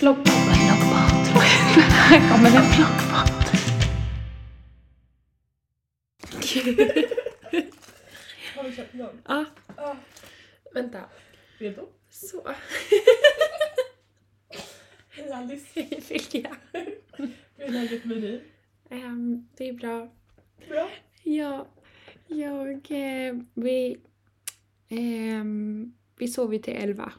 Blockpodden. Blockpodd. Här kommer det. Blockpodd. Har vi köpt igång? Ja, Ja. eh, vänta. Redo? Så. eh, Hej Alice. Hej Filja. Hur är läget med dig? Ehm, det är bra. Bra. Ja, jag... Eh, vi... ehm, vi sov ju till elva.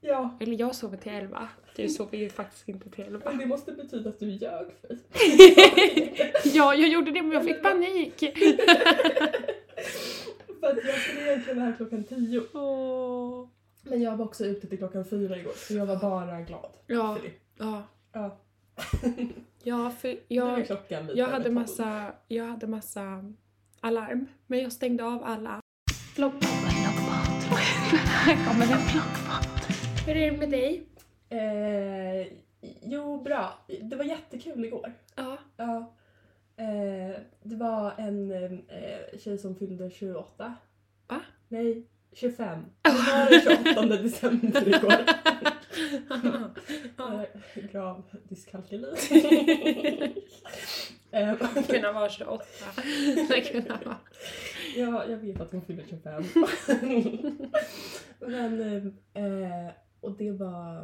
Ja. Eller jag sover till elva. Du sover ju faktiskt inte till elva. Men det måste betyda att du ljög för mig. ja, jag gjorde det men jag fick panik. För att jag skulle egentligen vara här klockan tio. Åh. Men jag var också ute till klockan fyra igår så jag var bara glad Ja, för det. ja. Ja. Ja, för nu är jag... klockan lite Jag över hade tolv. massa, jag hade massa alarm, men jag stängde av alla. Blockpodden, blockpodd. Här kommer det, blockpodd. Hur är det med dig? Eh, jo, bra. Det var jättekul igår. Ja. Ja. Eh, det var en eh, tjej som fyllde 28. Va? Nej, 25. Det var den 28 december igår. Ja. Eh, Grav dyskalkyli. Eh, Det kunde vara 28. Det kunde vara. ja, jag vet att hon fyller 25. Men, eh, och det var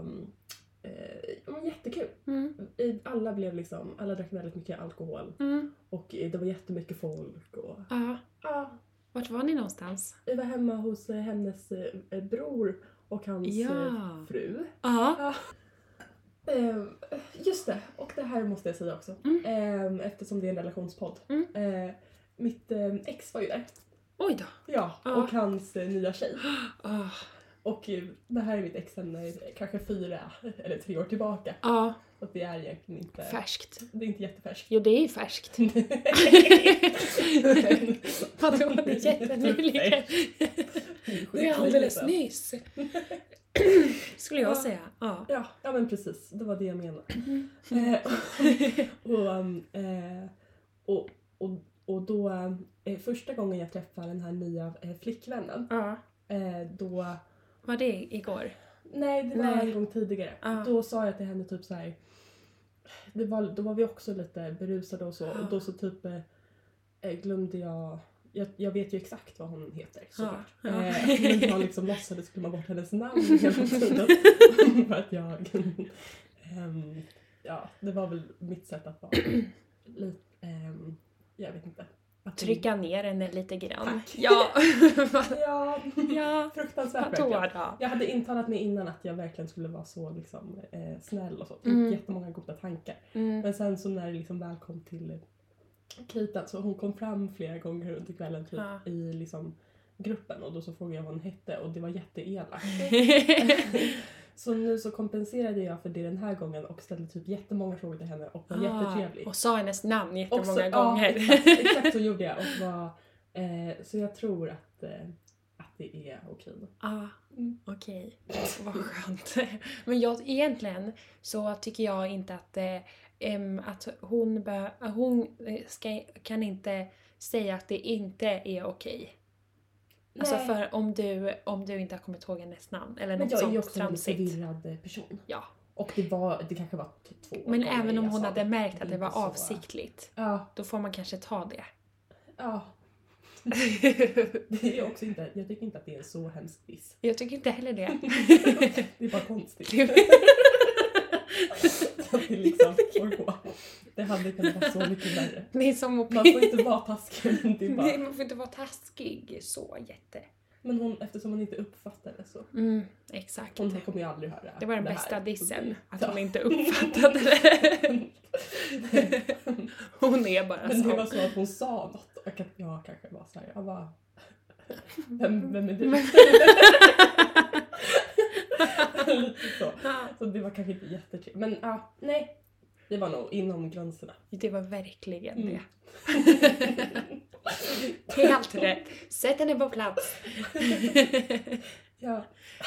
eh, ja, men jättekul. Mm, I- Alla blev liksom, alla drack väldigt mycket alkohol mm, och eh, det var jättemycket folk. Och, ja. ja, Vart var ni någonstans? vi var hemma hos eh, hennes eh, bror och hans eh, Ja. fru. Ja. Eh, Just det, och det här måste jag säga också. Mm. Eh, Eftersom det är en relationspodd. Mm. Eh, Mitt eh, ex var ju där. Oj då. Ja, Ja. och hans eh, nya tjej. Ah. Och eh, det här är mitt ex sen eh, kanske fyra eller tre år tillbaka. Ja, Så att det är egentligen inte, färskt. det är inte jättefärskt. Jo, det är ju färskt. Vadå, det är jättenyligen. Det är alldeles nyss. Skulle jag Ja. säga. Ja. Ja, ja men precis. Det var det jag menade. Mm-hmm. Eh, och, och, um, eh, och, och, och då, eh, första gången jag träffade den här nya eh, flickvännen, ja. eh, då, Var det igår? nej det var Nej. Ah. en gång tidigare, Ja. då sa jag till henne typ så här. Det var, då var vi också lite berusade och så Ja. och då så typ eh, eh, glömde jag jag, jag vet ju exakt vad hon heter såklart. Ja. Eh, Ah, Ja. men jag liksom låtsades glömma bort hennes namn hela tiden. för att jag... ehm, ja, det var väl mitt sätt att vara lite... ehm, jag vet inte. Att Trycka ner henne lite grann. Tack. Ja. Ja, ja. fruktansvärt verkligen. Tårar. Jag hade intalat mig innan att jag verkligen skulle vara så liksom, eh, snäll och så. Mm. Mm. Jättemånga goda tankar. Mm. Men sen så när det liksom väl kom till kritan så hon kom fram flera gånger under kvällen typ, Ja. i liksom, gruppen och då så frågade jag vad hon hette och det var jätteelakt. så nu så kompenserade jag för det den här gången och ställde typ jättemånga frågor till henne och var jättetrevlig. Ah, Och sa hennes namn Och så- jättemånga Ja, gånger. exakt, exakt så gjorde jag. Och var, eh, så jag tror att, eh, att det är okej. Ja, Mm. Ah, okej. Vad skönt. Men jag, egentligen så tycker jag inte att, eh, em, att hon, bör, hon eh, ska, kan inte säga att det inte är okej. Alltså Nej. för om du, om du inte har kommit ihåg hennes namn eller Men något jag är ju sånt också en väldigt tramsigt. förvirrad person. Ja. Och det, var, det kanske var t- två Men gånger även om jag hon sa hade märkt Det att är det var inte så, va? avsiktligt, Ja, då får man kanske ta det. ja. Det är också inte, jag tycker inte att det är en så hemsk diss. Jag tycker inte heller det. Det är bara konstigt. Det- Så att det liksom får gå. Det hade kunnat vara så mycket värre. Det är som att... Man får inte vara taskig. Men, det är Nej, bara, man får inte vara taskig så jätte. men hon, eftersom hon inte uppfattade så. Mm, exakt. Hon kommer ju aldrig höra Det var den här. bästa dissen, att Ja. hon inte uppfattade det. Hon är bara Men det var så. så att hon sa något och att jag kanske var såhär, jag bara... Vem, vem är du? Lite så. Ja, så det var kanske inte jättetrevligt. Men ja, nej. Det var nog inom gränserna. Det var verkligen Mm. det. Helt rätt. Sätt henne på plats. Ja,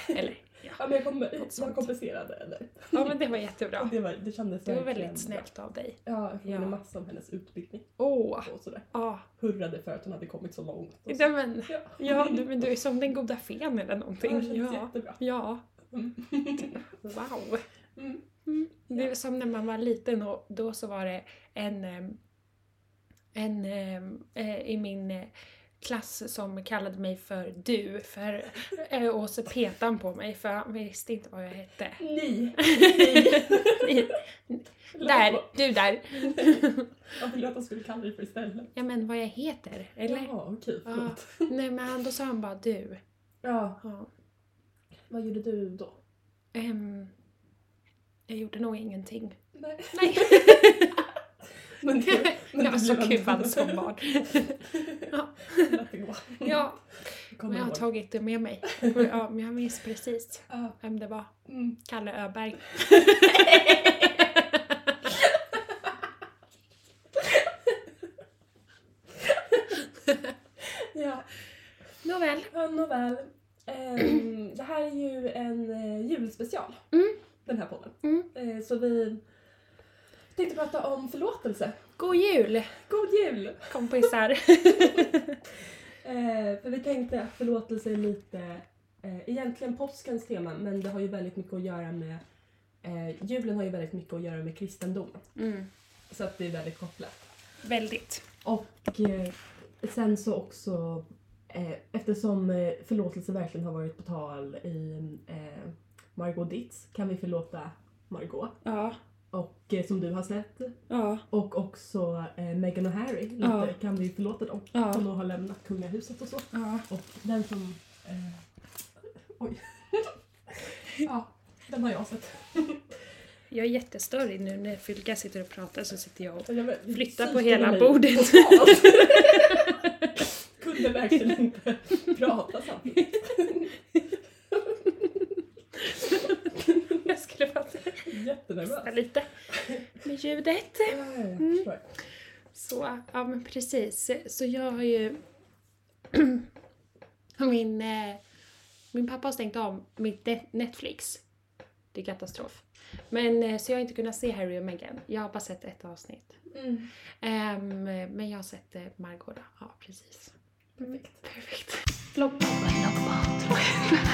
Eller, ja men jag, kom, sånt. jag kompenserade eller? ja men det var jättebra. Det, var, det kändes Det var verkligen väldigt snällt av dig. bra. Ja, jag frågade Ja. massor om hennes utbildning Åh, oh, och sådär. ja. Hurrade för att hon hade kommit så långt. Och så. Nej, men, Ja, ja, du, men du är som den goda fen eller det Mm. någonting. kändes Ja. jättebra. ja. Mm. Wow. Mm. Mm. Det är som när man var liten och då så var det en, em, en em, eh, i min eh, klass som kallade mig för du för, eh, och så petade han på mig för han visste inte vad jag hette. Nej! Nej! där, du där! Jag ville att de skulle kalla dig för istället. Ja men vad jag heter, eller? Ja, okej, Ja. förlåt. Nej men han, då sa han bara du. Ja, Ja. vad gjorde du då? Ehm, jag gjorde nog ingenting. Nej. Nej. Men det, men jag var det så blev ändå- kuvad som barn. Ja. Lät det gå. Ja, Kommer men jag har ihåg. tagit det med mig. Ja, men jag minns precis Ja, vem det var. mm. Kalle Öberg. ja. Nåväl. ja nåväl. Ehm, det här är ju en eh, julspecial. Mm. Den här podden. Mm. Eh, så vi tänkte prata om förlåtelse. God jul God jul! kompisar. Eh, för vi tänkte att förlåtelse är lite, eh, egentligen påskens tema, men det har ju väldigt mycket att göra med, eh, julen har ju väldigt mycket att göra med kristendom. Mm. Så att det är väldigt kopplat. Väldigt. Och eh, sen så också, eh, eftersom eh, förlåtelse verkligen har varit på tal i eh, Margot Ditz, Kan vi förlåta Margot? Ja. Och eh, som du har sett. Ja. Och också eh, Meghan och Harry, lite, Ja. Kan vi förlåta dem? Ja. Som då har lämnat kungahuset och så. Ja. Och den som... Eh, oj. ja, den har jag sett. Jag är jättestörig nu när Fylka sitter och pratar så sitter jag och Jag vet, flyttar på psykade hela mig bordet. totalt. Kunde verkligen inte prata samtidigt. Jag skulle bara testa Jättenervös. lite med ljudet. Ja, ja, ja, jag Mm. förstår. Så, ja men precis. Så jag har ju... min, eh, min pappa har stängt av mitt net- Netflix. Det är katastrof. Men eh, så jag har inte kunnat se Harry och Meghan. Jag har bara sett ett avsnitt. Mm, Ehm, men jag har sett eh, Margot då. Ja, precis. perfekt. Perfekt. Plock.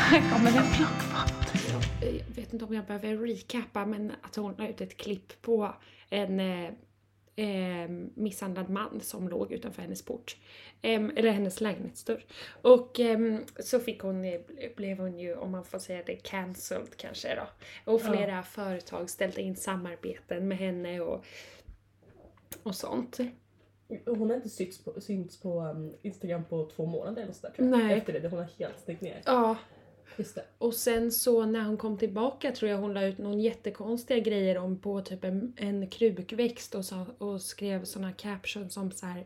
Här kommer en plockpott. Jag vet inte om jag behöver recappa men att hon la ut ett klipp på en eh, eh, misshandlad man som låg utanför hennes port. Em, eller hennes lägenhetsdörr. Och em, så fick hon, eh, blev hon ju, om man får säga det, cancelled kanske då. Och Ja. flera företag ställde in samarbeten med henne och, och sånt. Och Hon har inte synts på, synts på um, Instagram på två månader eller sådär tror jag. Nej. Efter det, hon har helt stängt ner. Ja, Just det. Och sen så när hon kom tillbaka tror jag hon la ut någon jättekonstiga grejer om på typ en, en krukväxt och, sa, och skrev såna captions som så här.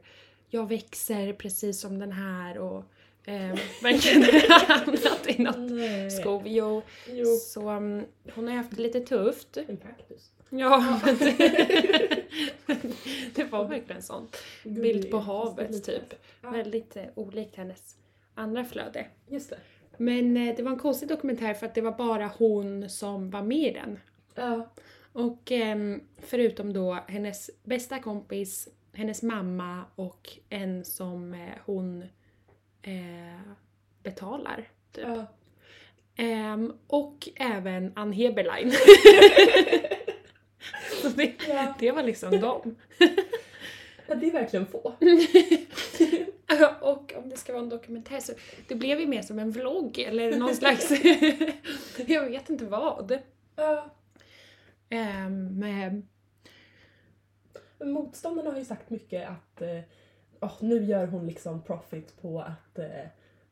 Jag växer precis som den här och eh, verkligen hamnat i något Nej. skov. Jo, Mm. Jo. så mm, hon har ju haft det lite tufft. En kaktus. Ja, men det, det var verkligen sånt. Bild på havet typ. Ja. Väldigt eh, olikt hennes andra flöde. Just det. Men eh, det var en konstig dokumentär för att det var bara hon som var med i den. Ja. typ. Och ehm, förutom då hennes bästa kompis, hennes mamma och en som eh, hon eh, betalar. Typ. ja. Ehm, och även Ann Heberlein. Så det, Ja. det var liksom dem. ja, det är verkligen få. och om det ska vara en dokumentär så det blev ju mer som en vlogg eller någon slags... jag vet inte vad. Ja. Ehm, eh, Men Motståndarna har ju sagt mycket att eh, åh, nu gör hon liksom profit på att eh,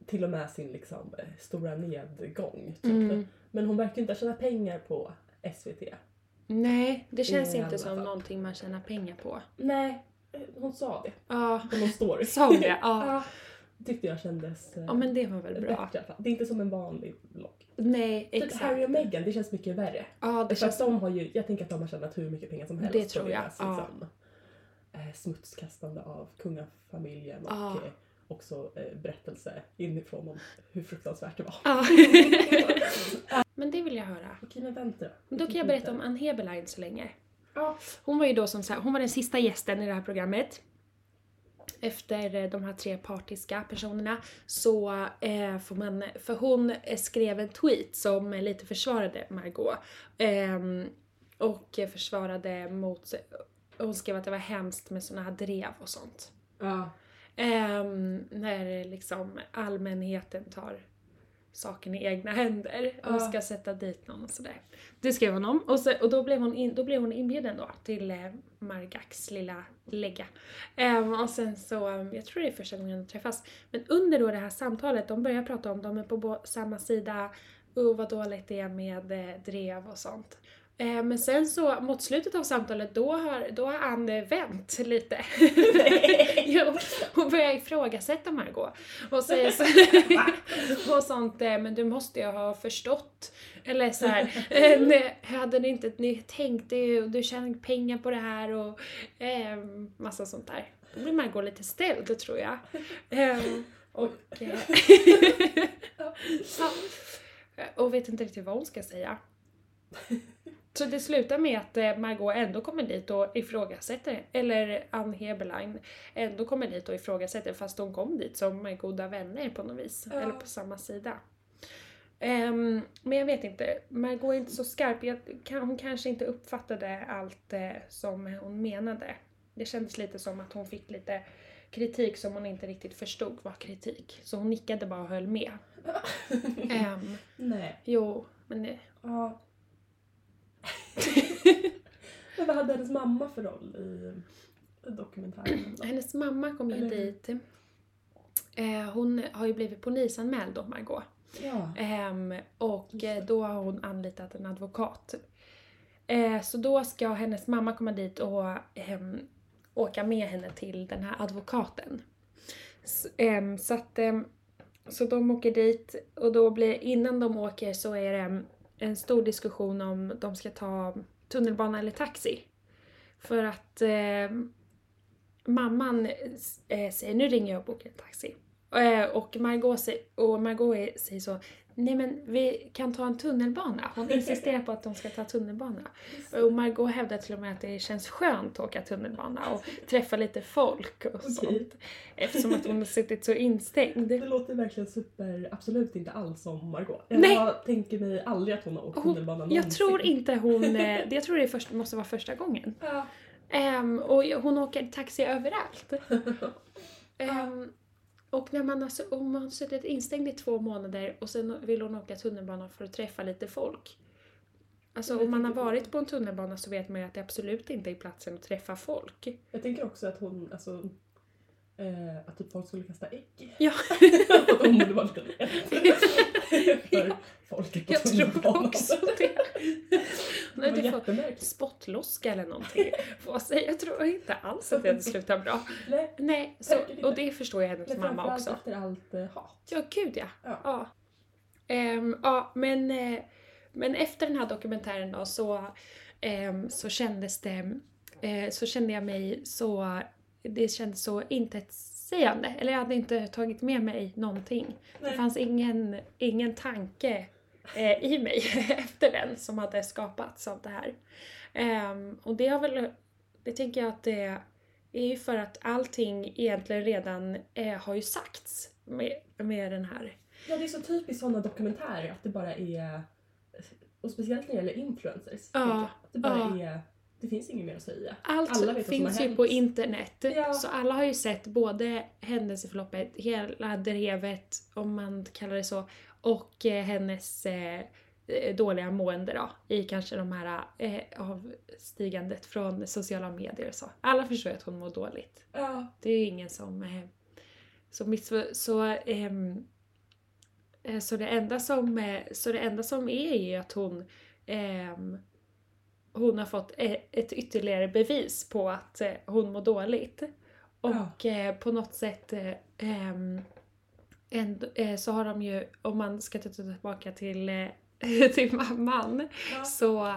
till och med sin liksom, eh, stora nedgång. Typ. Mm. Men hon verkar inte tjäna pengar på SVT. nej, det känns I alla inte som fall. någonting man tjänar pengar på. Nej, eh, hon sa det Ja, på någon story. sa hon det? Ja. Ja, tyckte jag kändes eh, Ja men det var väl bättre bra. i alla fall. Det är inte som en vanlig vlogg. Nej, Typ Harry exakt. och Meghan, det känns mycket värre. Ja, det För att känns... de har ju, jag tänker att de har tjänat hur mycket pengar som helst Det tror på jag, deras ja. liksom, eh, smutskastande av kungafamiljen och Ja. eh, också eh, berättelse inifrån om hur fruktansvärt det var. Ja. men det vill jag höra. Okej men vänta Men Då kan jag berätta om Ann Heberlein så länge. Ja. Hon var ju då som så här, hon var den sista gästen i det här programmet. Efter eh, de här tre partiska personerna så eh, får man, för hon eh, skrev en tweet som eh, lite försvarade Margot. Ehm, Och eh, försvarade mot... Hon skrev att det var hemskt med såna här drev och sånt. Ja. Ehm, när liksom allmänheten tar saken i egna händer och Ja. ska sätta dit någon och sådär. Det skrev hon om och, så, och då, blev hon in, då blev hon inbjuden då till eh, Margaks lilla lägga. Ehm, och sen så, ehm, jag tror det är första gången de träffas, men under då det här samtalet, de börjar prata om, de är på bå- samma sida, och vad dåligt det är med eh, drev och sånt. Eh, Men sen så mot slutet av samtalet då har, då har Anne vänt lite. jo, hon börjar ifrågasätta Margot och säger så, och sånt, eh, men du måste ju ha förstått. Eller så här, eh, nej, hade ni inte ni tänkt det och du tjänar pengar på det här och eh, massa sånt där. Då blir Margot lite ställd tror jag. Eh, och, eh, ja, och vet inte riktigt vad hon ska säga. Så det slutar med att eh, Margot ändå kommer dit och ifrågasätter, eller Ann Heberlein ändå kommer dit och ifrågasätter fast de kom dit som goda vänner på något vis, Ja. eller på samma sida. Ehm, men jag vet inte, Margot är inte så skarp. Jag, kan, hon kanske inte uppfattade allt eh, som hon menade. Det kändes lite som att hon fick lite kritik som hon inte riktigt förstod var kritik. Så hon nickade bara och höll med. Ehm, Nej. jo, men det, Ja. Men vad hade hennes mamma för roll i i dokumentären? då? Hennes mamma kom ju Eller- dit. Eh, hon har ju blivit polisanmäld då, Margot. Ja. Ehm, och Just eh, då har hon anlitat en advokat. Eh, så då ska hennes mamma komma dit och ehm, åka med henne till den här advokaten. S- ehm, så att, ehm, så de åker dit och då blir, innan de åker så är det ehm, en stor diskussion om de ska ta tunnelbana eller taxi. För att ehm, mamman eh, säger nu ringer jag och bokar en taxi. Eh, och Margot, säger- och Margot är- säger så Nej men vi kan ta en tunnelbana. Hon insisterar på att de ska ta tunnelbana. Och Margot hävdar till och med att det känns skönt att åka tunnelbana och träffa lite folk och Okej. sånt. Eftersom att hon har suttit så instängd. Det låter verkligen super, absolut inte alls som Margot. Jag Nej. bara tänker mig aldrig att hon har åkt Hon- tunnelbana någonsin. Jag tror inte hon... eh, Jag tror det är först, måste vara första gången. Ja. Ehm, och jag- hon åker taxi överallt. Ehm, och när man har, su- om man har suttit instängd i två månader och sen vill hon åka tunnelbana för att träffa lite folk. Alltså Jag om man har tänker på- varit på en tunnelbana så vet man ju att det absolut inte är platsen att träffa folk. Jag tänker också att hon, alltså, eh, att typ folk skulle kasta ägg. Ja. att hon borde vara lite rädd för folk på Jag tror tunnelbanan. också det. Det Nej, var du får jättemärkligt. spottloska eller någonting. Får jag säga. Jag tror inte alls att det slutar bra. Nej, Nej, så, Verkligen. och det förstår jag hennes men mamma framförallt också. efter allt eh, hat. Ja, gud ja. Ja. Ja, Ehm, ja men, eh, men efter den här dokumentären då så, ehm, så kändes det, eh, så kände jag mig så, det kändes så intetsägande. Eller jag hade inte tagit med mig någonting. Det Nej. fanns ingen, ingen tanke eh, i mig efter den som hade skapats av det här. Ehm, och det har väl, det tänker jag att det är ju för att allting egentligen redan eh, har ju sagts med, med den här. Ja, det är så typiskt sådana dokumentärer att det bara är, och speciellt när det gäller influencers, Ja, tänker jag, att det bara ja. är, det finns inget mer att säga. Allt Alla vet vad som finns har ju hänt. på internet. Ja. Så alla har ju sett både händelseförloppet, hela drevet, om man kallar det så, och eh, hennes eh, eh, dåliga mående då, i kanske de här eh, avstigandet från sociala medier och så. Alla förstår ju att hon mår dåligt. Ja, Det är ju ingen som... Eh, så, missför, så, ehm, eh, så, det enda som, eh, så det enda som är är ju att hon, ehm, hon har fått eh, ett ytterligare bevis på att eh, hon mår dåligt. Och eh, på något sätt eh, ehm, ändå, eh, så har de ju, om man ska ta tillbaka till, eh, till mamman, ja. så,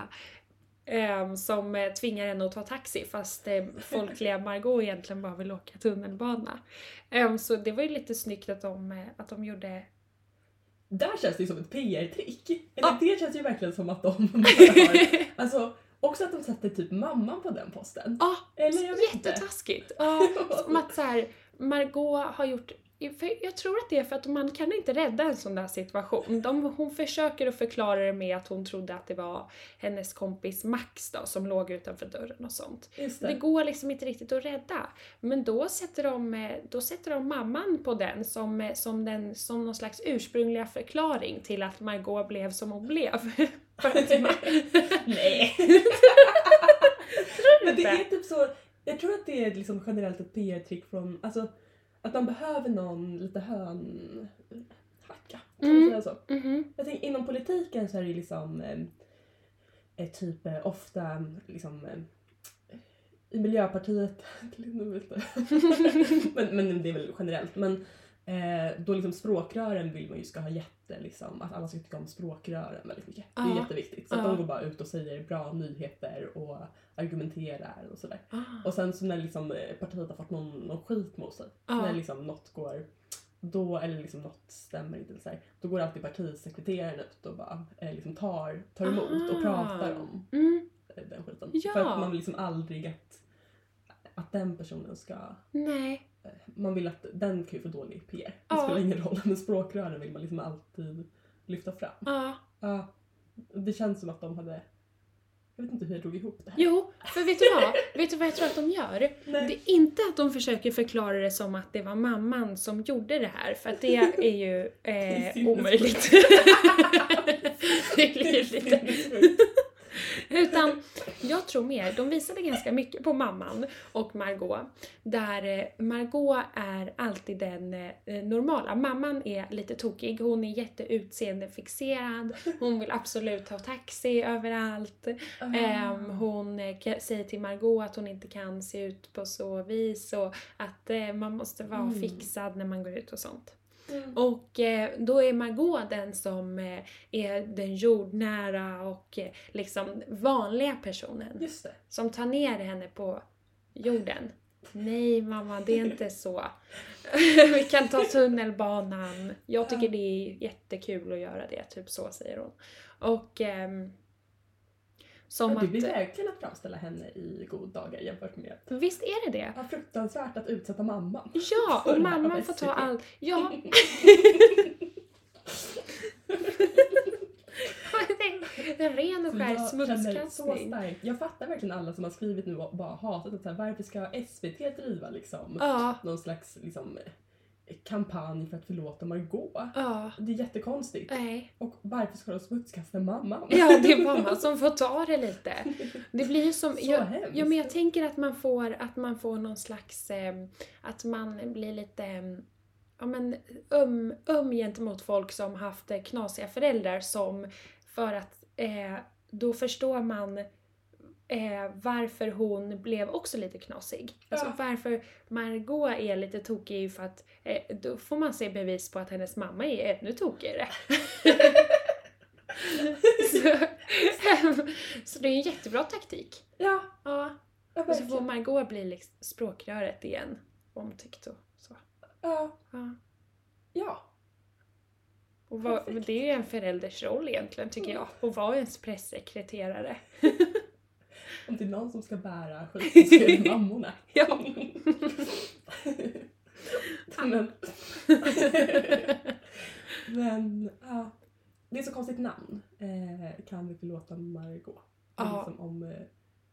ehm, som eh, tvingar henne att ta taxi fast eh, folkliga Margot egentligen bara vill åka tunnelbana. Ehm, så det var ju lite snyggt att de, eh, att de gjorde... Där känns det ju som ett PR-trick. Eller Ja. det känns ju verkligen som att de bara har, alltså, också att de sätter typ mamman på den posten. Ja, Eller jag vet inte. jättetaskigt! Ja, som att så här, Margot har gjort För jag tror att det är för att man kan inte rädda en sån där situation. De, hon försöker att förklara det med att hon trodde att det var hennes kompis Max då, som låg utanför dörren och sånt. Just Det går liksom inte riktigt att rädda. Men då sätter de, eh, då sätter de mamman på den som, eh, som, den, som någon slags ursprungliga förklaring till att Margot blev som hon blev. För att man- Nej. Men det inte? är typ så, jag tror att det är liksom generellt ett PR-trick från, alltså att man behöver någon lite hön... hacka, kan man Mm. säga så? Mhm. Jag tänker inom politiken så är det ju liksom eh, eh, typ eh, ofta liksom eh, i Miljöpartiet, nu vet jag. men, men det är väl generellt, men eh, då liksom språkrören vill man ju ska ha jätte, liksom, att alla ska tycka om språkrören väldigt mycket. Det är Ja. jätteviktigt. Så att Ja. de går bara ut och säger bra nyheter och argumenterar och sådär. Ah. Och sen så när liksom eh, partiet har fått någon, någon skit mot sig, Ja. när liksom något går, då, eller liksom något stämmer inte, eller så här, då går alltid partisekreteraren ut och bara eh, liksom tar, tar emot och Ah. pratar om Mm. eh, den skiten. Ja. För att man vill liksom aldrig att, att den personen ska, Nej. man vill att den kan ju få dålig PR. Det Ja. spelar ingen roll, men språkrören vill man liksom alltid lyfta fram. Ja. Ja, det känns som att de hade, jag vet inte hur jag drog ihop det här. Jo, för vet du vad? vet du vad jag tror att de gör? Nej. Det är inte att de försöker förklara det som att det var mamman som gjorde det här, för att det är ju är eh, sinnessjukt. omöjligt. det blir lite. Utan jag tror mer, de visade ganska mycket på mamman och Margot. Där eh, Margot är alltid den eh, normala. Mamman är lite tokig, hon är jätteutseendefixerad, hon vill absolut ha taxi överallt. Mm. Ehm, Ah. hon eh, ka- säger till Margot att hon inte kan se ut på så vis och att eh, man måste vara Mm. fixad när man går ut och sånt. Mm. Och eh, då är Margot den som eh, är den jordnära och eh, liksom vanliga personen Just det. som tar ner henne på jorden. Nej mamma, det är inte så. Vi kan ta tunnelbanan. Jag tycker det är jättekul att göra det, typ så säger hon. Och ehm, som Ja, det att... blir verkligen att framställa henne i god dagar jämfört med Visst är det det? ja, fruktansvärt att utsätta mamman. Ja, Full och av mamman får ta SVT. allt. Ja. Det är en ren och Så skär jag känner så smutskastning. starkt. Jag fattar verkligen alla som har skrivit nu och bara hatat att så här, varför ska SVT driva liksom Ja, någon slags liksom, eh, kampanj för att förlåta Margot? ja, Det är jättekonstigt. nej. Och varför ska de smutskasta mamman? Ja, det är mamma som får ta det lite. Det blir ju som... Så Jag, hemskt. ja, men jag tänker att man får, att man får någon slags... Eh, att man blir lite... eh, Ja, men öm, öm gentemot folk som haft eh, knasiga föräldrar som... För att eh, då förstår man eh, varför hon blev också lite knasig. Alltså Ja. varför Margot är lite tokig är ju för att eh, då får man se bevis på att hennes mamma är ännu tokigare. så, ehm, så det är en jättebra taktik. Ja, Ja, ja, och så får verkligen. Margot bli liksom språkröret igen. Omtyckt och så. Ja, Ja. ja. Och vad, Perfekt. det är ju en förälders roll egentligen tycker jag. Att vara ens pressekreterare. Om det är någon som ska bära skiten så är det mammorna. Ja. Men, men ja. Det är så konstigt namn. Eh, kan vi förlåta Margot? Det är Ja. Liksom om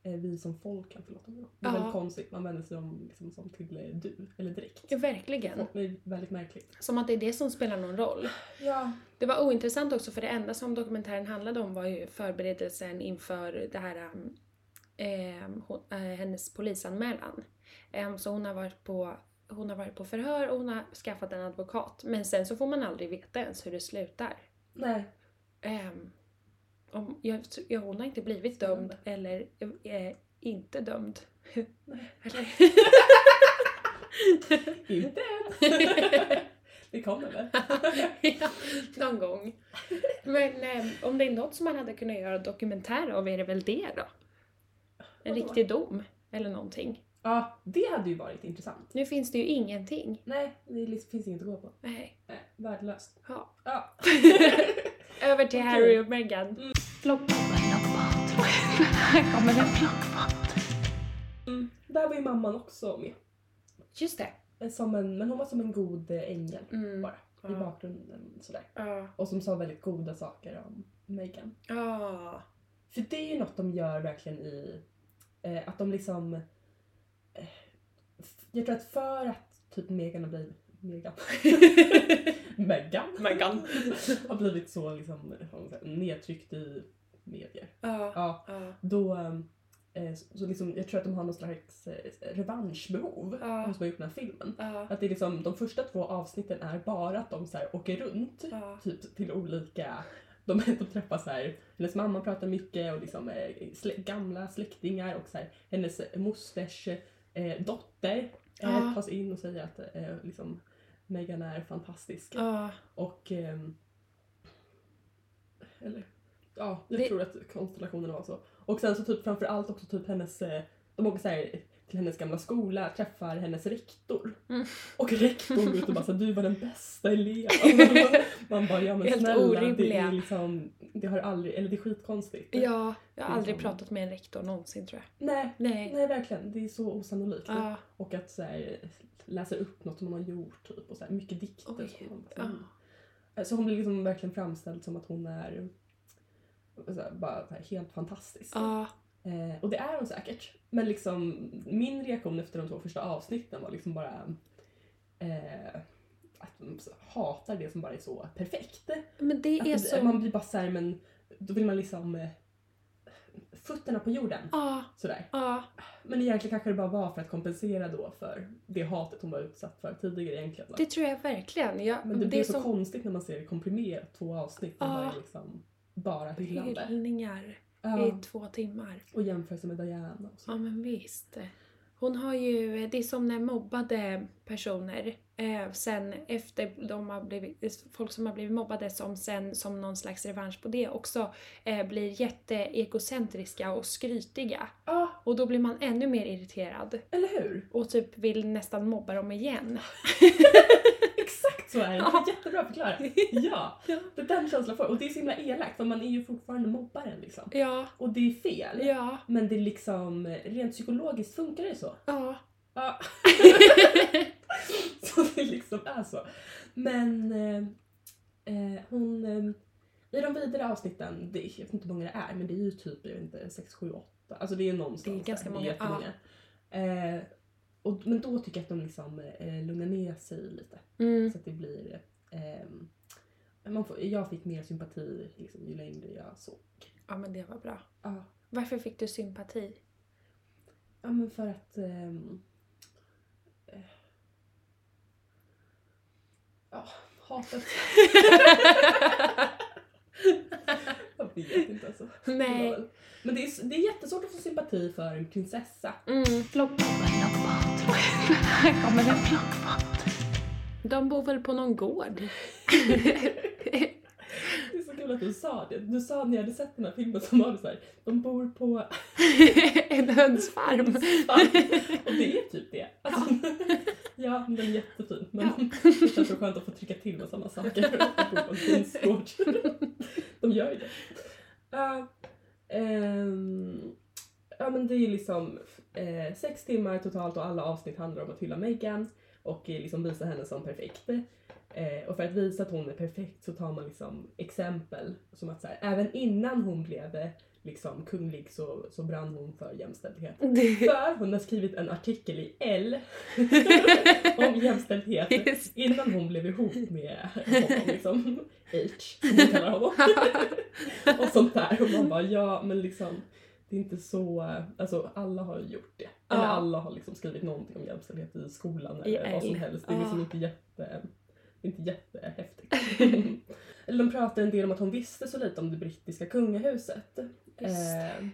eh, vi som folk kan förlåta Margot. Det är Ja. väldigt konstigt. Man vänder sig om liksom, som till eh, du eller direkt. Ja, verkligen. Det är väldigt märkligt. Som att det är det som spelar någon roll. Ja. Det var ointressant också för det enda som dokumentären handlade om var ju förberedelsen inför det här um, ehm, hon, eh, hennes polisanmälan. Ehm, så hon har, varit på, hon har varit på förhör och hon har skaffat en advokat. Men sen så får man aldrig veta ens hur det slutar. Nej. Ehm, om, jag, tr- ja, hon har inte blivit dömd eller eh, inte dömd. Eller? Inte än. det kommer väl. ja, någon gång. Men eh, om det är något som man hade kunnat göra dokumentär av är det väl det då? En Vadå? riktig dom eller någonting. Ja, det hade ju varit intressant. Nu finns det ju ingenting. Nej, det liksom finns inget att gå på. Nej. Nej, värdelöst. Ja. Ja. Över till Harry och Meghan. Blockpodd. Här kommer en blockpodd. Där var ju mamman också med. Just det. eh, som en, men hon var som en god eh, ängel Mm. bara i Ja. bakgrunden sådär. Ja. Och som sa väldigt goda saker om Meghan. Ja. För det är ju något de gör verkligen i eh, att de liksom eh, f- jag tror att för att typ Meghan har blivit Meghan. Meghan. Meghan. har blivit så liksom, vad ska man säga, nedtryckt i medier. Ja. Ja, Ja. då, eh, så, så liksom, jag tror att de har någon slags eh, revanschbehov. Ja. De som har gjort den här filmen. Ja. Att det är liksom, de första två avsnitten är bara att de så här, åker runt Ja. typ, till olika de, de träffar så här, hennes mamma pratar mycket och liksom, eh, slä, gamla släktingar och så här, hennes mosters eh, dotter eh, Ja. tas in och säger att eh, liksom, Meghan är fantastisk. Ja. Och... ehm, eller? Ja, jag Det- tror att konstellationen var så. Och sen så typ framförallt också typ hennes... eh, De åker så här till hennes gamla skola, träffar hennes rektor. Mm. Och rektorn går ut och bara så här, du var den bästa eleven. Man bara, ja men Helt snälla, det orimliga. är liksom... Det har aldrig... Eller det är skitkonstigt. Ja, jag har Det är aldrig som- pratat med en rektor någonsin tror jag. Nej, Nej. nej verkligen. Det är så osannolikt. Ja. Och att så här, läsa upp något som hon har gjort typ och så här, mycket dikter. Oj. som hon bara, så här, Ja. Så hon blir liksom verkligen framställd som att hon är så här, bara så här, helt fantastisk. Ja. Eh, och det är hon säkert. Men liksom, min reaktion efter de två första avsnitten var liksom bara eh, att man så hatar det som bara är så perfekt. Men det Att är det, så... Man blir bara såhär, men då vill man liksom eh, fötterna på jorden. Ja. Sådär. Ja. Men egentligen kanske det bara var för att kompensera då för det hatet hon var utsatt för tidigare egentligen. Det tror jag verkligen. Jag, Men typ det, blir är så som konstigt när man ser det komprimerat, två avsnitt. där Ja. man är liksom bara hyllande. hyllningar Ja, i två timmar. och jämförelse med Diana och så. Ja men visst. Hon har ju, det är som när mobbade personer eh, sen efter de har blivit, folk som har blivit mobbade som sen som någon slags revansch på det också eh, blir jätteegocentriska och skrytiga. Ja, Och då blir man ännu mer irriterad eller hur? och typ vill nästan mobba dem igen. Exakt så är det! det! var Jättebra förklarat! Ja, Ja. det är den känslan får Och det är så himla elakt för man är ju fortfarande mobbaren liksom. Ja, Och det är fel. ja, Men det är liksom, rent psykologiskt funkar det så. ja. Ja. så det liksom är så. Men eh, eh, hon... Eh, I de vidare avsnitten, det, jag vet inte hur många det är, men det är ju typ jag vet inte, 6, 7, 8. Alltså det är någonstans. Det är ganska där. många, jättemånga. Eh, och, men då tycker jag att de liksom eh, lugnar ner sig lite. Mm, Så att det blir... ehm, man får, jag fick mer sympati liksom, ju längre jag såg. ja men det var bra. Ja. Varför fick du sympati? Ja men för att... ehm, eh, ja, hatet. Jag vet inte alltså. Det var Nej. väl- Men det är, det är jättesvårt att få sympati för en prinsessa. Mm. Här kommer en flockbot. De bor väl på någon gård? Det är så kul att du sa det. Du sa när jag hade sett den här filmen som var det så här, de bor på en hönsfarm? Och det är typ det. Alltså, ja, men den är jättefin. Men Ja. det känns så skönt att få trycka till med sådana saker. Att bo på en hönsgård. De gör ju det. Ja, ehm, ja men det är liksom eh, sex timmar totalt och alla avsnitt handlar om att hylla Meghan och eh, liksom visa henne som perfekt. Eh, och för att visa att hon är perfekt så tar man liksom exempel som att så här, även innan hon blev eh, liksom kunglig så, så brann hon för jämställdhet. Mm. För hon har skrivit en artikel i L om jämställdhet Just. innan hon blev ihop med honom, liksom, H, som hon kallar honom. och sånt där. Och man bara, ja men liksom det är inte så, alltså alla har ju gjort det. Eller Ja. alla har liksom skrivit någonting om jämställdhet i skolan I eller vad som L. helst. Det är liksom Ja. inte jätte, det är inte jättehäftigt. eller de pratar en del om att hon visste så lite om det brittiska kungahuset. Just Eh,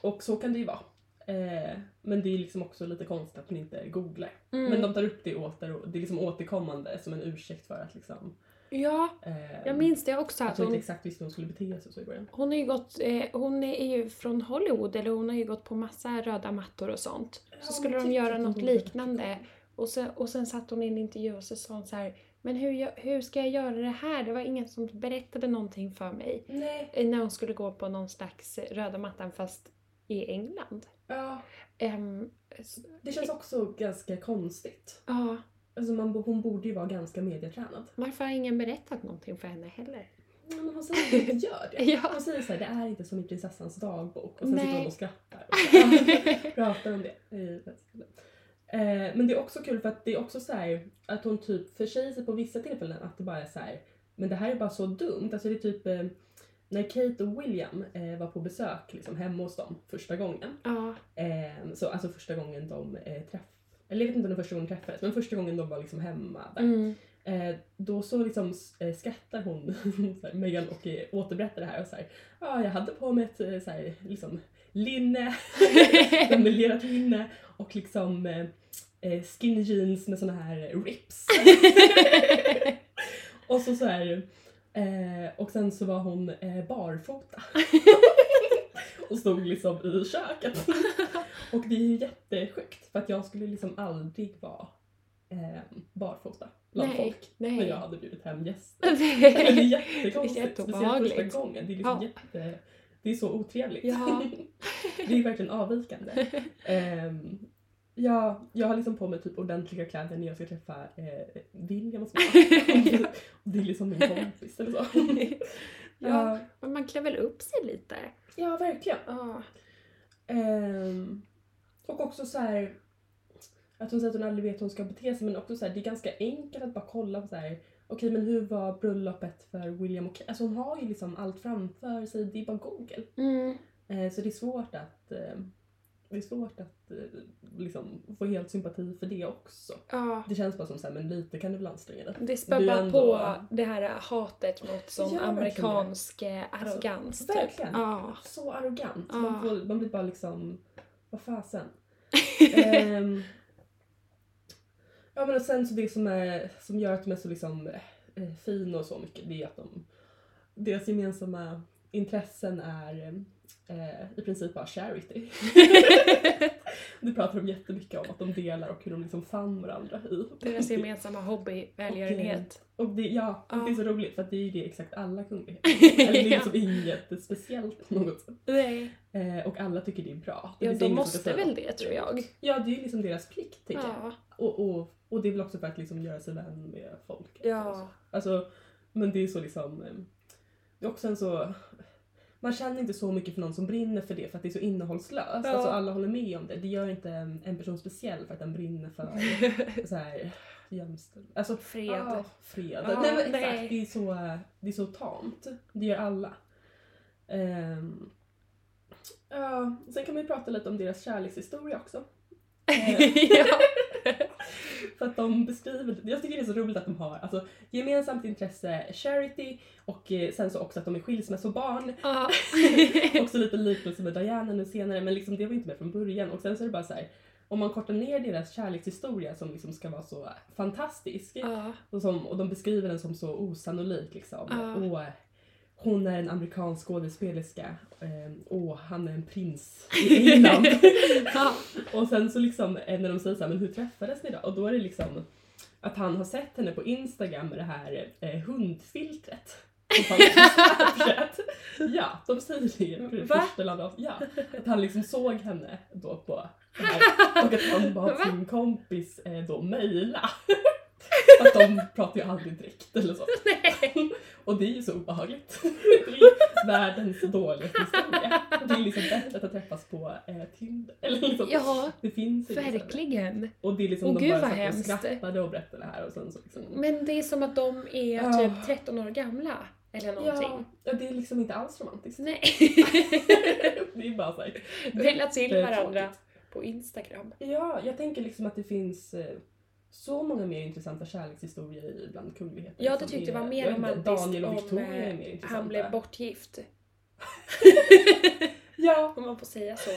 och så kan det ju vara. Eh, men det är liksom också lite konstigt att man inte googlar. Mm. Men de tar upp det åter och det är liksom återkommande som en ursäkt för att liksom... Ja, Eh, jag minns det också. att Att hon inte hon, exakt visste hur hon skulle bete sig så i början. hon, har ju gått, eh, hon är ju från Hollywood, eller hon har ju gått på massa röda mattor och sånt. Så skulle de göra något liknande. Och sen, och sen satt hon i en intervju och så sa hon så här, men hur, gö- hur ska jag göra det här? Det var ingen som berättade någonting för mig. Nej. Eh, När hon skulle gå på någon slags röda mattan fast i England. Ja, Ehm, s- det känns också ganska konstigt. Ja, Alltså man, bo- hon borde ju vara ganska medietränad. Varför har ingen berättat någonting för henne heller? Men hon säger att hon inte gör det. Ja. Hon säger såhär, det är inte som i prinsessans dagbok. Och sen Nej. sitter hon och skrattar. Och pratar om det. i ett ställe. Eh, men det är också kul för att det är också så här att hon typ försäger sig på vissa tillfällen att det bara är så här. men det här är bara så dumt. Alltså det är typ eh, när Kate och William eh, var på besök liksom, hemma hos dem första gången. ja. Eh, så, alltså första gången de eh, träffades, eller jag vet inte om det var första gången de träffades, men första gången de var liksom hemma där. Mm. Eh, då så liksom eh, skrattar hon, så här, Megan, och eh, återberättar det här och säger ja jag hade på mig ett eh, så här, liksom, linne, lammellerat linne och liksom eh, eh, skinny jeans med såna här eh, rips. och så så här, eh, och sen så var hon eh, barfota. och stod liksom i köket. och det är ju jättesjukt för att jag skulle liksom aldrig vara eh, barfota bland Nej. folk Nej. när jag hade bjudit hem gäster. Det är Nej. jättekonstigt. Det är Speciellt jätteobehagligt. första gången. Det är, liksom Ja. jätte, det är så otrevligt. Ja. det är verkligen avvikande. Ehm, ja, jag har liksom på mig typ ordentliga kläder när jag ska träffa eh, William och så. Ja. Och det är liksom min kompis eller så. ja. ja. Men man klär väl upp sig lite? ja, verkligen. Ja. Ehm, och också så här att hon säger att hon aldrig vet hur hon ska bete sig men också så här, det är ganska enkelt att bara kolla på så här. Okej men hur var bröllopet för William och Kate? Alltså hon har ju liksom allt framför sig, det är bara Google. Mm. Eh, så det är svårt att, eh, det är svårt att eh, liksom, få helt sympati för det också. ja. Det känns bara som så här, men lite kan du väl anstränga dig. Det spär Du är bara ändå- på det här hatet mot som Ja, Alltså, amerikansk eh, arrogans. typ. verkligen. Ja. Så arrogant. Ja. Man, får, man blir bara liksom, vad fasen. Ehm, ja men och sen så det som, är, som gör att de är så liksom eh, fina och så mycket det är att de, deras gemensamma intressen är eh, i princip bara charity. det pratar de jättemycket om att de delar och hur de liksom fann varandra i. Deras gemensamma hobby, välgörenhet. Och det, ja, och det är Ja. så roligt för att det är ju det exakt alla kungligheter. Eller det är Ja. liksom inget speciellt på något sätt. Nej. Eh, och alla tycker det är bra. Det Ja, finns de ingen som ska måste säga väl något. det tror jag. Ja, det är ju liksom deras plikt tänker jag. Ja. Och, och, och det är väl också för att liksom göra sig vän med folk. Ja. Alltså, men det är så liksom... eh, Det är också en så... Man känner inte så mycket för någon som brinner för det för att det är så innehållslöst. Ja. Alltså alla håller med om det. Det gör inte en, en person speciell för att den brinner för så här, jämställdhet. Alltså, Alltså. Fred. Ja, fred. Ja, nej, men nej. exakt. Det är, så, eh, det är så tamt. Det gör alla. Ehm, ja, sen kan man ju prata lite om deras kärlekshistoria också. Eh, ja. för att de beskriver, jag tycker det är så roligt att de har alltså, gemensamt intresse, charity och eh, sen så också att de är skilsmässobarn. Ja. också lite liknelse med Diana nu senare men liksom det var inte med från början och sen så är det bara så här. Om man kortar ner deras kärlekshistoria som liksom ska vara så fantastisk ja. och, som, och de beskriver den som så osannolik liksom. Ja. Och hon är en amerikansk skådespelerska eh, och han är en prins i England. Ja. och sen så liksom eh, när de säger så här, men hur träffades ni då? Och då är det liksom att han har sett henne på Instagram med det här eh, hundfiltret. Som fanns på Snapchat. ja, de säger det i Va? första eller andra avsnittet. Ja, att han liksom såg henne då på det här. och att han bad Va? sin kompis eh, då mejla. För att de pratar ju aldrig direkt eller så. Och det är ju så obehagligt. Det är ju världens dåligaste historia. Det är liksom bättre att ha träffats på eh, Tinder. Eller liksom, ja. det finns inget sämre. Verkligen. Och det är liksom Åh, de gud, bara vad satt och hemskt. Mm. skrattade och berättade det här och sen så liksom. Men det är som att de är Ja. typ 13 år gamla. Eller någonting. Ja, ja, det är liksom inte alls romantiskt. Nej. det är bara så här. Dela till Jättetråkigt. varandra på Instagram. Ja, jag tänker liksom att det finns eh, så många mer intressanta kärlekshistorier i- bland kungligheter. Jag hade som tyckt det är- var mer jag vet inte, romantiskt Daniel och om Victoria är mer eh, intressanta. han blev bortgift. Ja, Om man får säga så.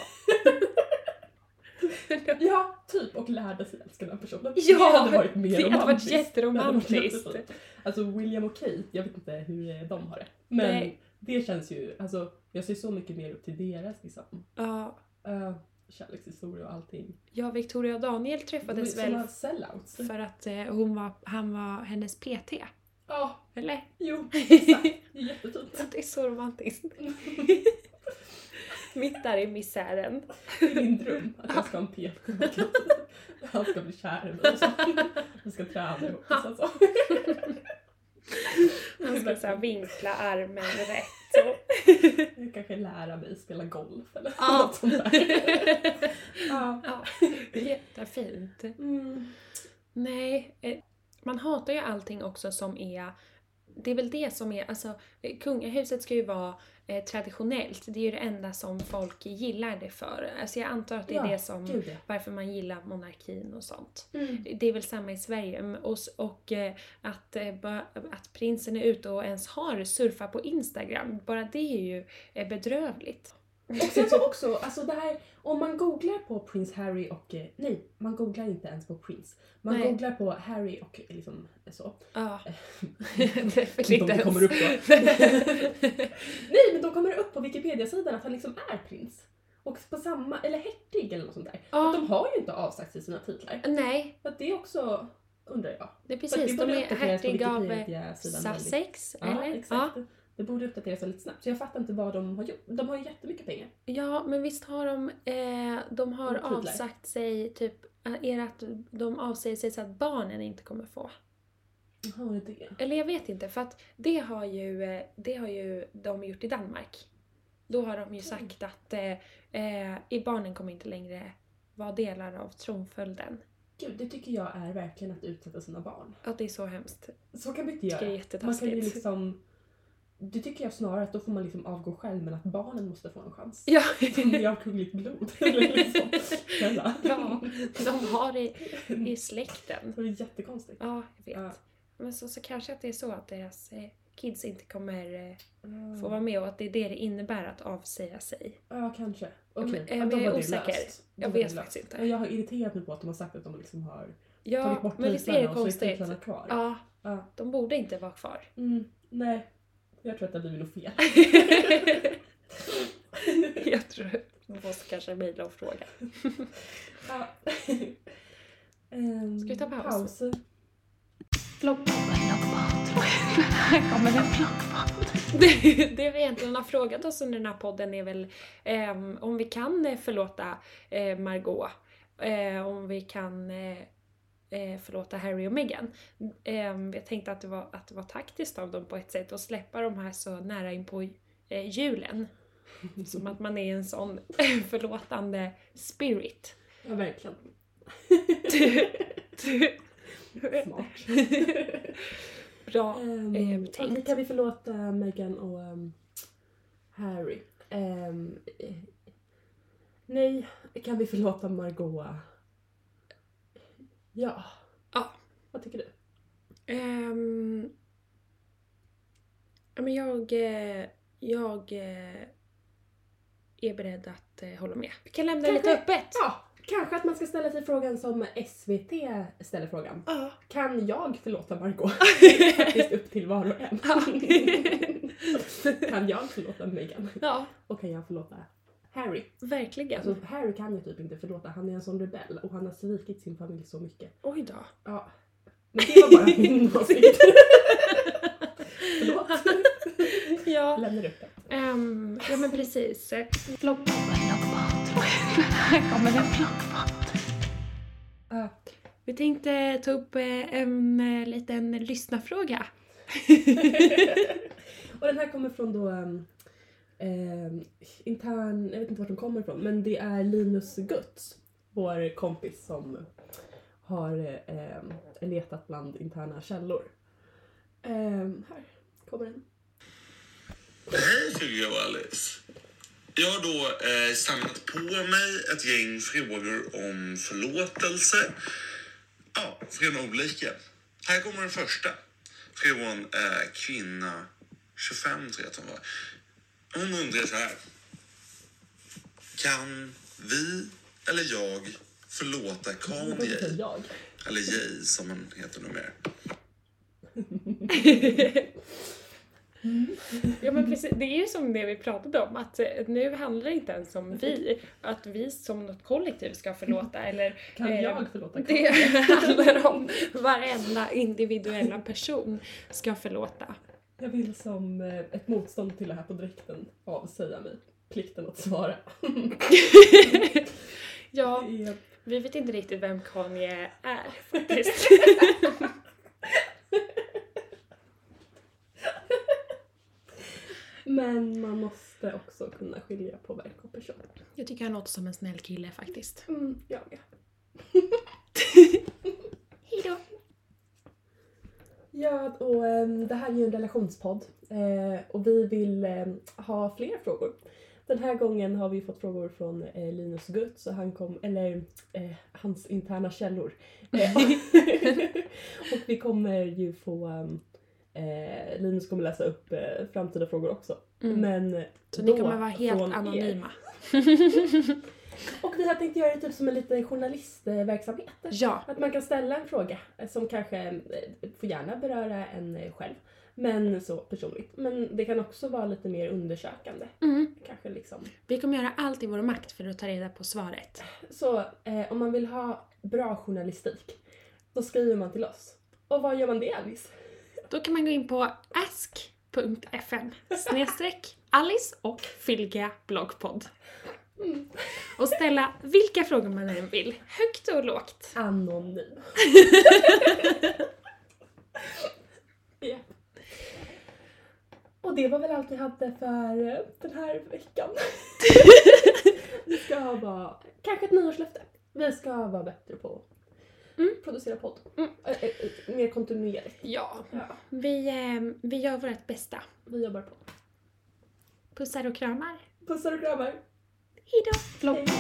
Ja, typ. Och lärde sig älska den personen. Ja, det hade varit mer det hade varit romantiskt. jätteromantiskt. Det hade varit jättefint. Alltså William och Kate, jag vet inte hur eh, de har det. Men Nej. det känns ju, alltså jag ser så mycket mer upp till deras liksom. Ja, Uh, kärlekshistoria och allting. jag, Victoria och Daniel träffades de är väl såna sellouts. för att eh, hon var, han var hennes PT. Ja, Eller? jo, exakt. Det är jättetydligt. Det är så romantiskt. Mitt där i misären. I min dröm att jag ska ha en PT. Han ska bli kär i mig och så. Vi ska träna ihop alltså. och så. så. Man ska så här vinkla armen rätt. Och... Jag kanske lära mig spela golf eller Ja. något sånt där. Ja. ja, jättefint. Mm. Nej, eh, man hatar ju allting också som är... Det är väl det som är... Alltså, eh, kungahuset ska ju vara eh, traditionellt. Det är ju det enda som folk gillar det för. Alltså jag antar att det är Ja, det som... Gud ja. Varför man gillar monarkin och sånt. Det är väl samma i Sverige. Mm, Och, s- och eh, att, eh, ba- att prinsen är ute och ens har surfat på Instagram. Bara det är ju eh, bedrövligt. Och sen så också, alltså det här, om man googlar på prins Harry och, eh, nej man googlar inte ens på prins. Man Nej. googlar på Harry och eh, liksom eh, så. Ja. Inte Typ om det kommer upp då. Nej men då kommer det upp på Wikipedia-sidan att han liksom är prins. Och på samma, eller hertig eller något sånt där. Ja. Att de har ju inte avsagt sig sina titlar. Nej, Att det också undrar jag. det är För att precis. det De borde är uppdateras på hertig av eh, Wikipedia-sidan väldigt- Sussex, Ja, eller? exakt. Det borde uppdateras väldigt snabbt. Så jag fattar inte vad de har gjort. De har ju jättemycket pengar. Ja, men visst har de... Eh, de har Och titlar. avsagt sig typ... eh, Är det att de avsäger sig så att barnen inte kommer få? Jaha, är det Eller jag vet inte, för att det har ju, eh, det har ju de gjort i Danmark. Då har de ju sagt att eh, eh, i barnen kommer inte längre vara delar av tronföljden. Gud, det tycker jag är verkligen att utsätta sina barn. Att det är så hemskt. Så kan vi inte Det är göra. Man kan ju jättetaskigt. liksom... Det tycker jag snarare att då får man liksom avgå själv men att barnen måste få en chans. Ja. Vi har kungligt blod. Eller liksom. Snälla. ja, de har det i släkten. Det är jättekonstigt. Ja, jag vet. Ja. Men så, så kanske att det är så att deras eh, kids inte kommer eh, Mm. få vara med och att det är det det innebär att avsäga sig. Ja, kanske. Okej. Men, eh, ja, då men jag är var det osäker. löst. Då Jag var det vet löst. faktiskt inte. Men Jag har irriterat mig på att de har sagt att de liksom har tagit Ja, bort men visst är det titlarna och så är konstigt? titlarna kvar. Ja, Ja. de borde inte vara kvar. Mm, nej, jag tror att det blir nog fel. jag tror man måste kanske mejla och fråga. Ja. Ehm, Ska vi ta paus? Floppa, floppa, tråd. Här kommer en flopphatt. Det, det vi egentligen har frågat oss under den här podden är väl ehm, om vi kan eh, förlåta eh, Margot. Eh, om vi kan eh, eh, förlåta Harry och Meghan. Ehm, jag tänkte att det, var, att det var taktiskt av dem på ett sätt att släppa de här så nära in på eh, julen. Som att man är en sån förlåtande spirit. Ja, verkligen. Smart. Bra. Ehm, ehm, okej, tänkt. kan vi förlåta Meghan och ehm, Harry? Ehm, eh, nej, kan vi förlåta Margot? Ja. Ja. Vad tycker du? Ehm, ja, men jag, eh, jag eh, är beredd att eh, hålla med. Vi kan lämna det lite Kanske- öppet. Ja, kanske att man ska ställa sig frågan som SVT ställer frågan. Ja. Kan jag förlåta Margot? Faktiskt upp till var och en. Ja. kan jag förlåta Meghan? ja, Och kan jag förlåta Harry? verkligen. Alltså Harry kan jag typ inte förlåta, han är en sån rebell och han har svikit sin familj så mycket. Oj då. Ja. Men det var bara min åsikt. Förlåt. Ja, Lämnar upp det. ehm, ja men precis. Floppa, floppa, tråd. Här kommer en flopphatt. Vi tänkte ta upp eh, en eh, liten lyssnarfråga. Och den här kommer från då ehm, ehm, intern, jag vet inte vart de kommer ifrån, men det är Linus Guts, vår kompis som har ehm, letat bland interna källor. Ehm, här kommer den. Hej Sigge och Alice. Jag har då eh, samlat på mig ett gäng frågor om förlåtelse. Ja, från olika. Här kommer den första. Från eh, kvinna 25 tror jag att hon var. Hon undrar så här. Kan vi eller jag förlåta Jag tror att det Kanye? är jag. Eller Jay som han heter numera. Ja men precis, det är ju som det vi pratade om att eh, nu handlar det inte ens om vi, att vi som något kollektiv ska förlåta eller Kan eh, jag förlåta Kanye? Det handlar om varenda individuella person ska förlåta. Jag vill som eh, ett motstånd till det här på dräkten avsäga mig plikten att svara. Ja, Det är- vi vet inte riktigt vem Kanye är faktiskt. Men man måste också kunna skilja på verk och person. Jag tycker han låter som en snäll kille faktiskt. Mm, jag med. Hejdå! Ja, och ehm, det här är ju en relationspodd eh, och vi vill ehm, ha fler frågor. Den här gången har vi fått frågor från eh, Linus Gutt, så han kom, eller eh, hans interna källor. Eh, och vi kommer ju få... ehm, eh, Linus kommer läsa upp eh, framtida frågor också. Mm. Men Så ni då kommer vara helt från er. anonyma. Och vi har tänkt göra det typ som en liten journalistverksamhet. Ja. Att man kan ställa en fråga eh, som kanske eh, får gärna beröra en eh, själv. Men så personligt. Men det kan också vara lite mer undersökande. Mm. Kanske liksom. Vi kommer göra allt i vår makt för att ta reda på svaret. Så eh, om man vill ha bra journalistik, då skriver man till oss. Och vad gör man det Alice? Då kan man gå in på ask.fm snedstreck Alice och Filga bloggpodd. Och ställa vilka frågor man än vill, högt och lågt. Anonym. ja. Och det var väl allt vi hade för eh, den här veckan. vi ska vara, kanske ett nyårslöfte. Vi ska vara bättre på att Mm. producera podd. Mm. Ä- ä- ä- mer kontinuerligt. Ja, Ja. vi, eh, vi gör vårt bästa. Vi jobbar på. Pussar och kramar. Pussar och kramar. Hejdå! Hej. Blockpodd.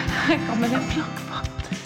Här kommer en blockpodd.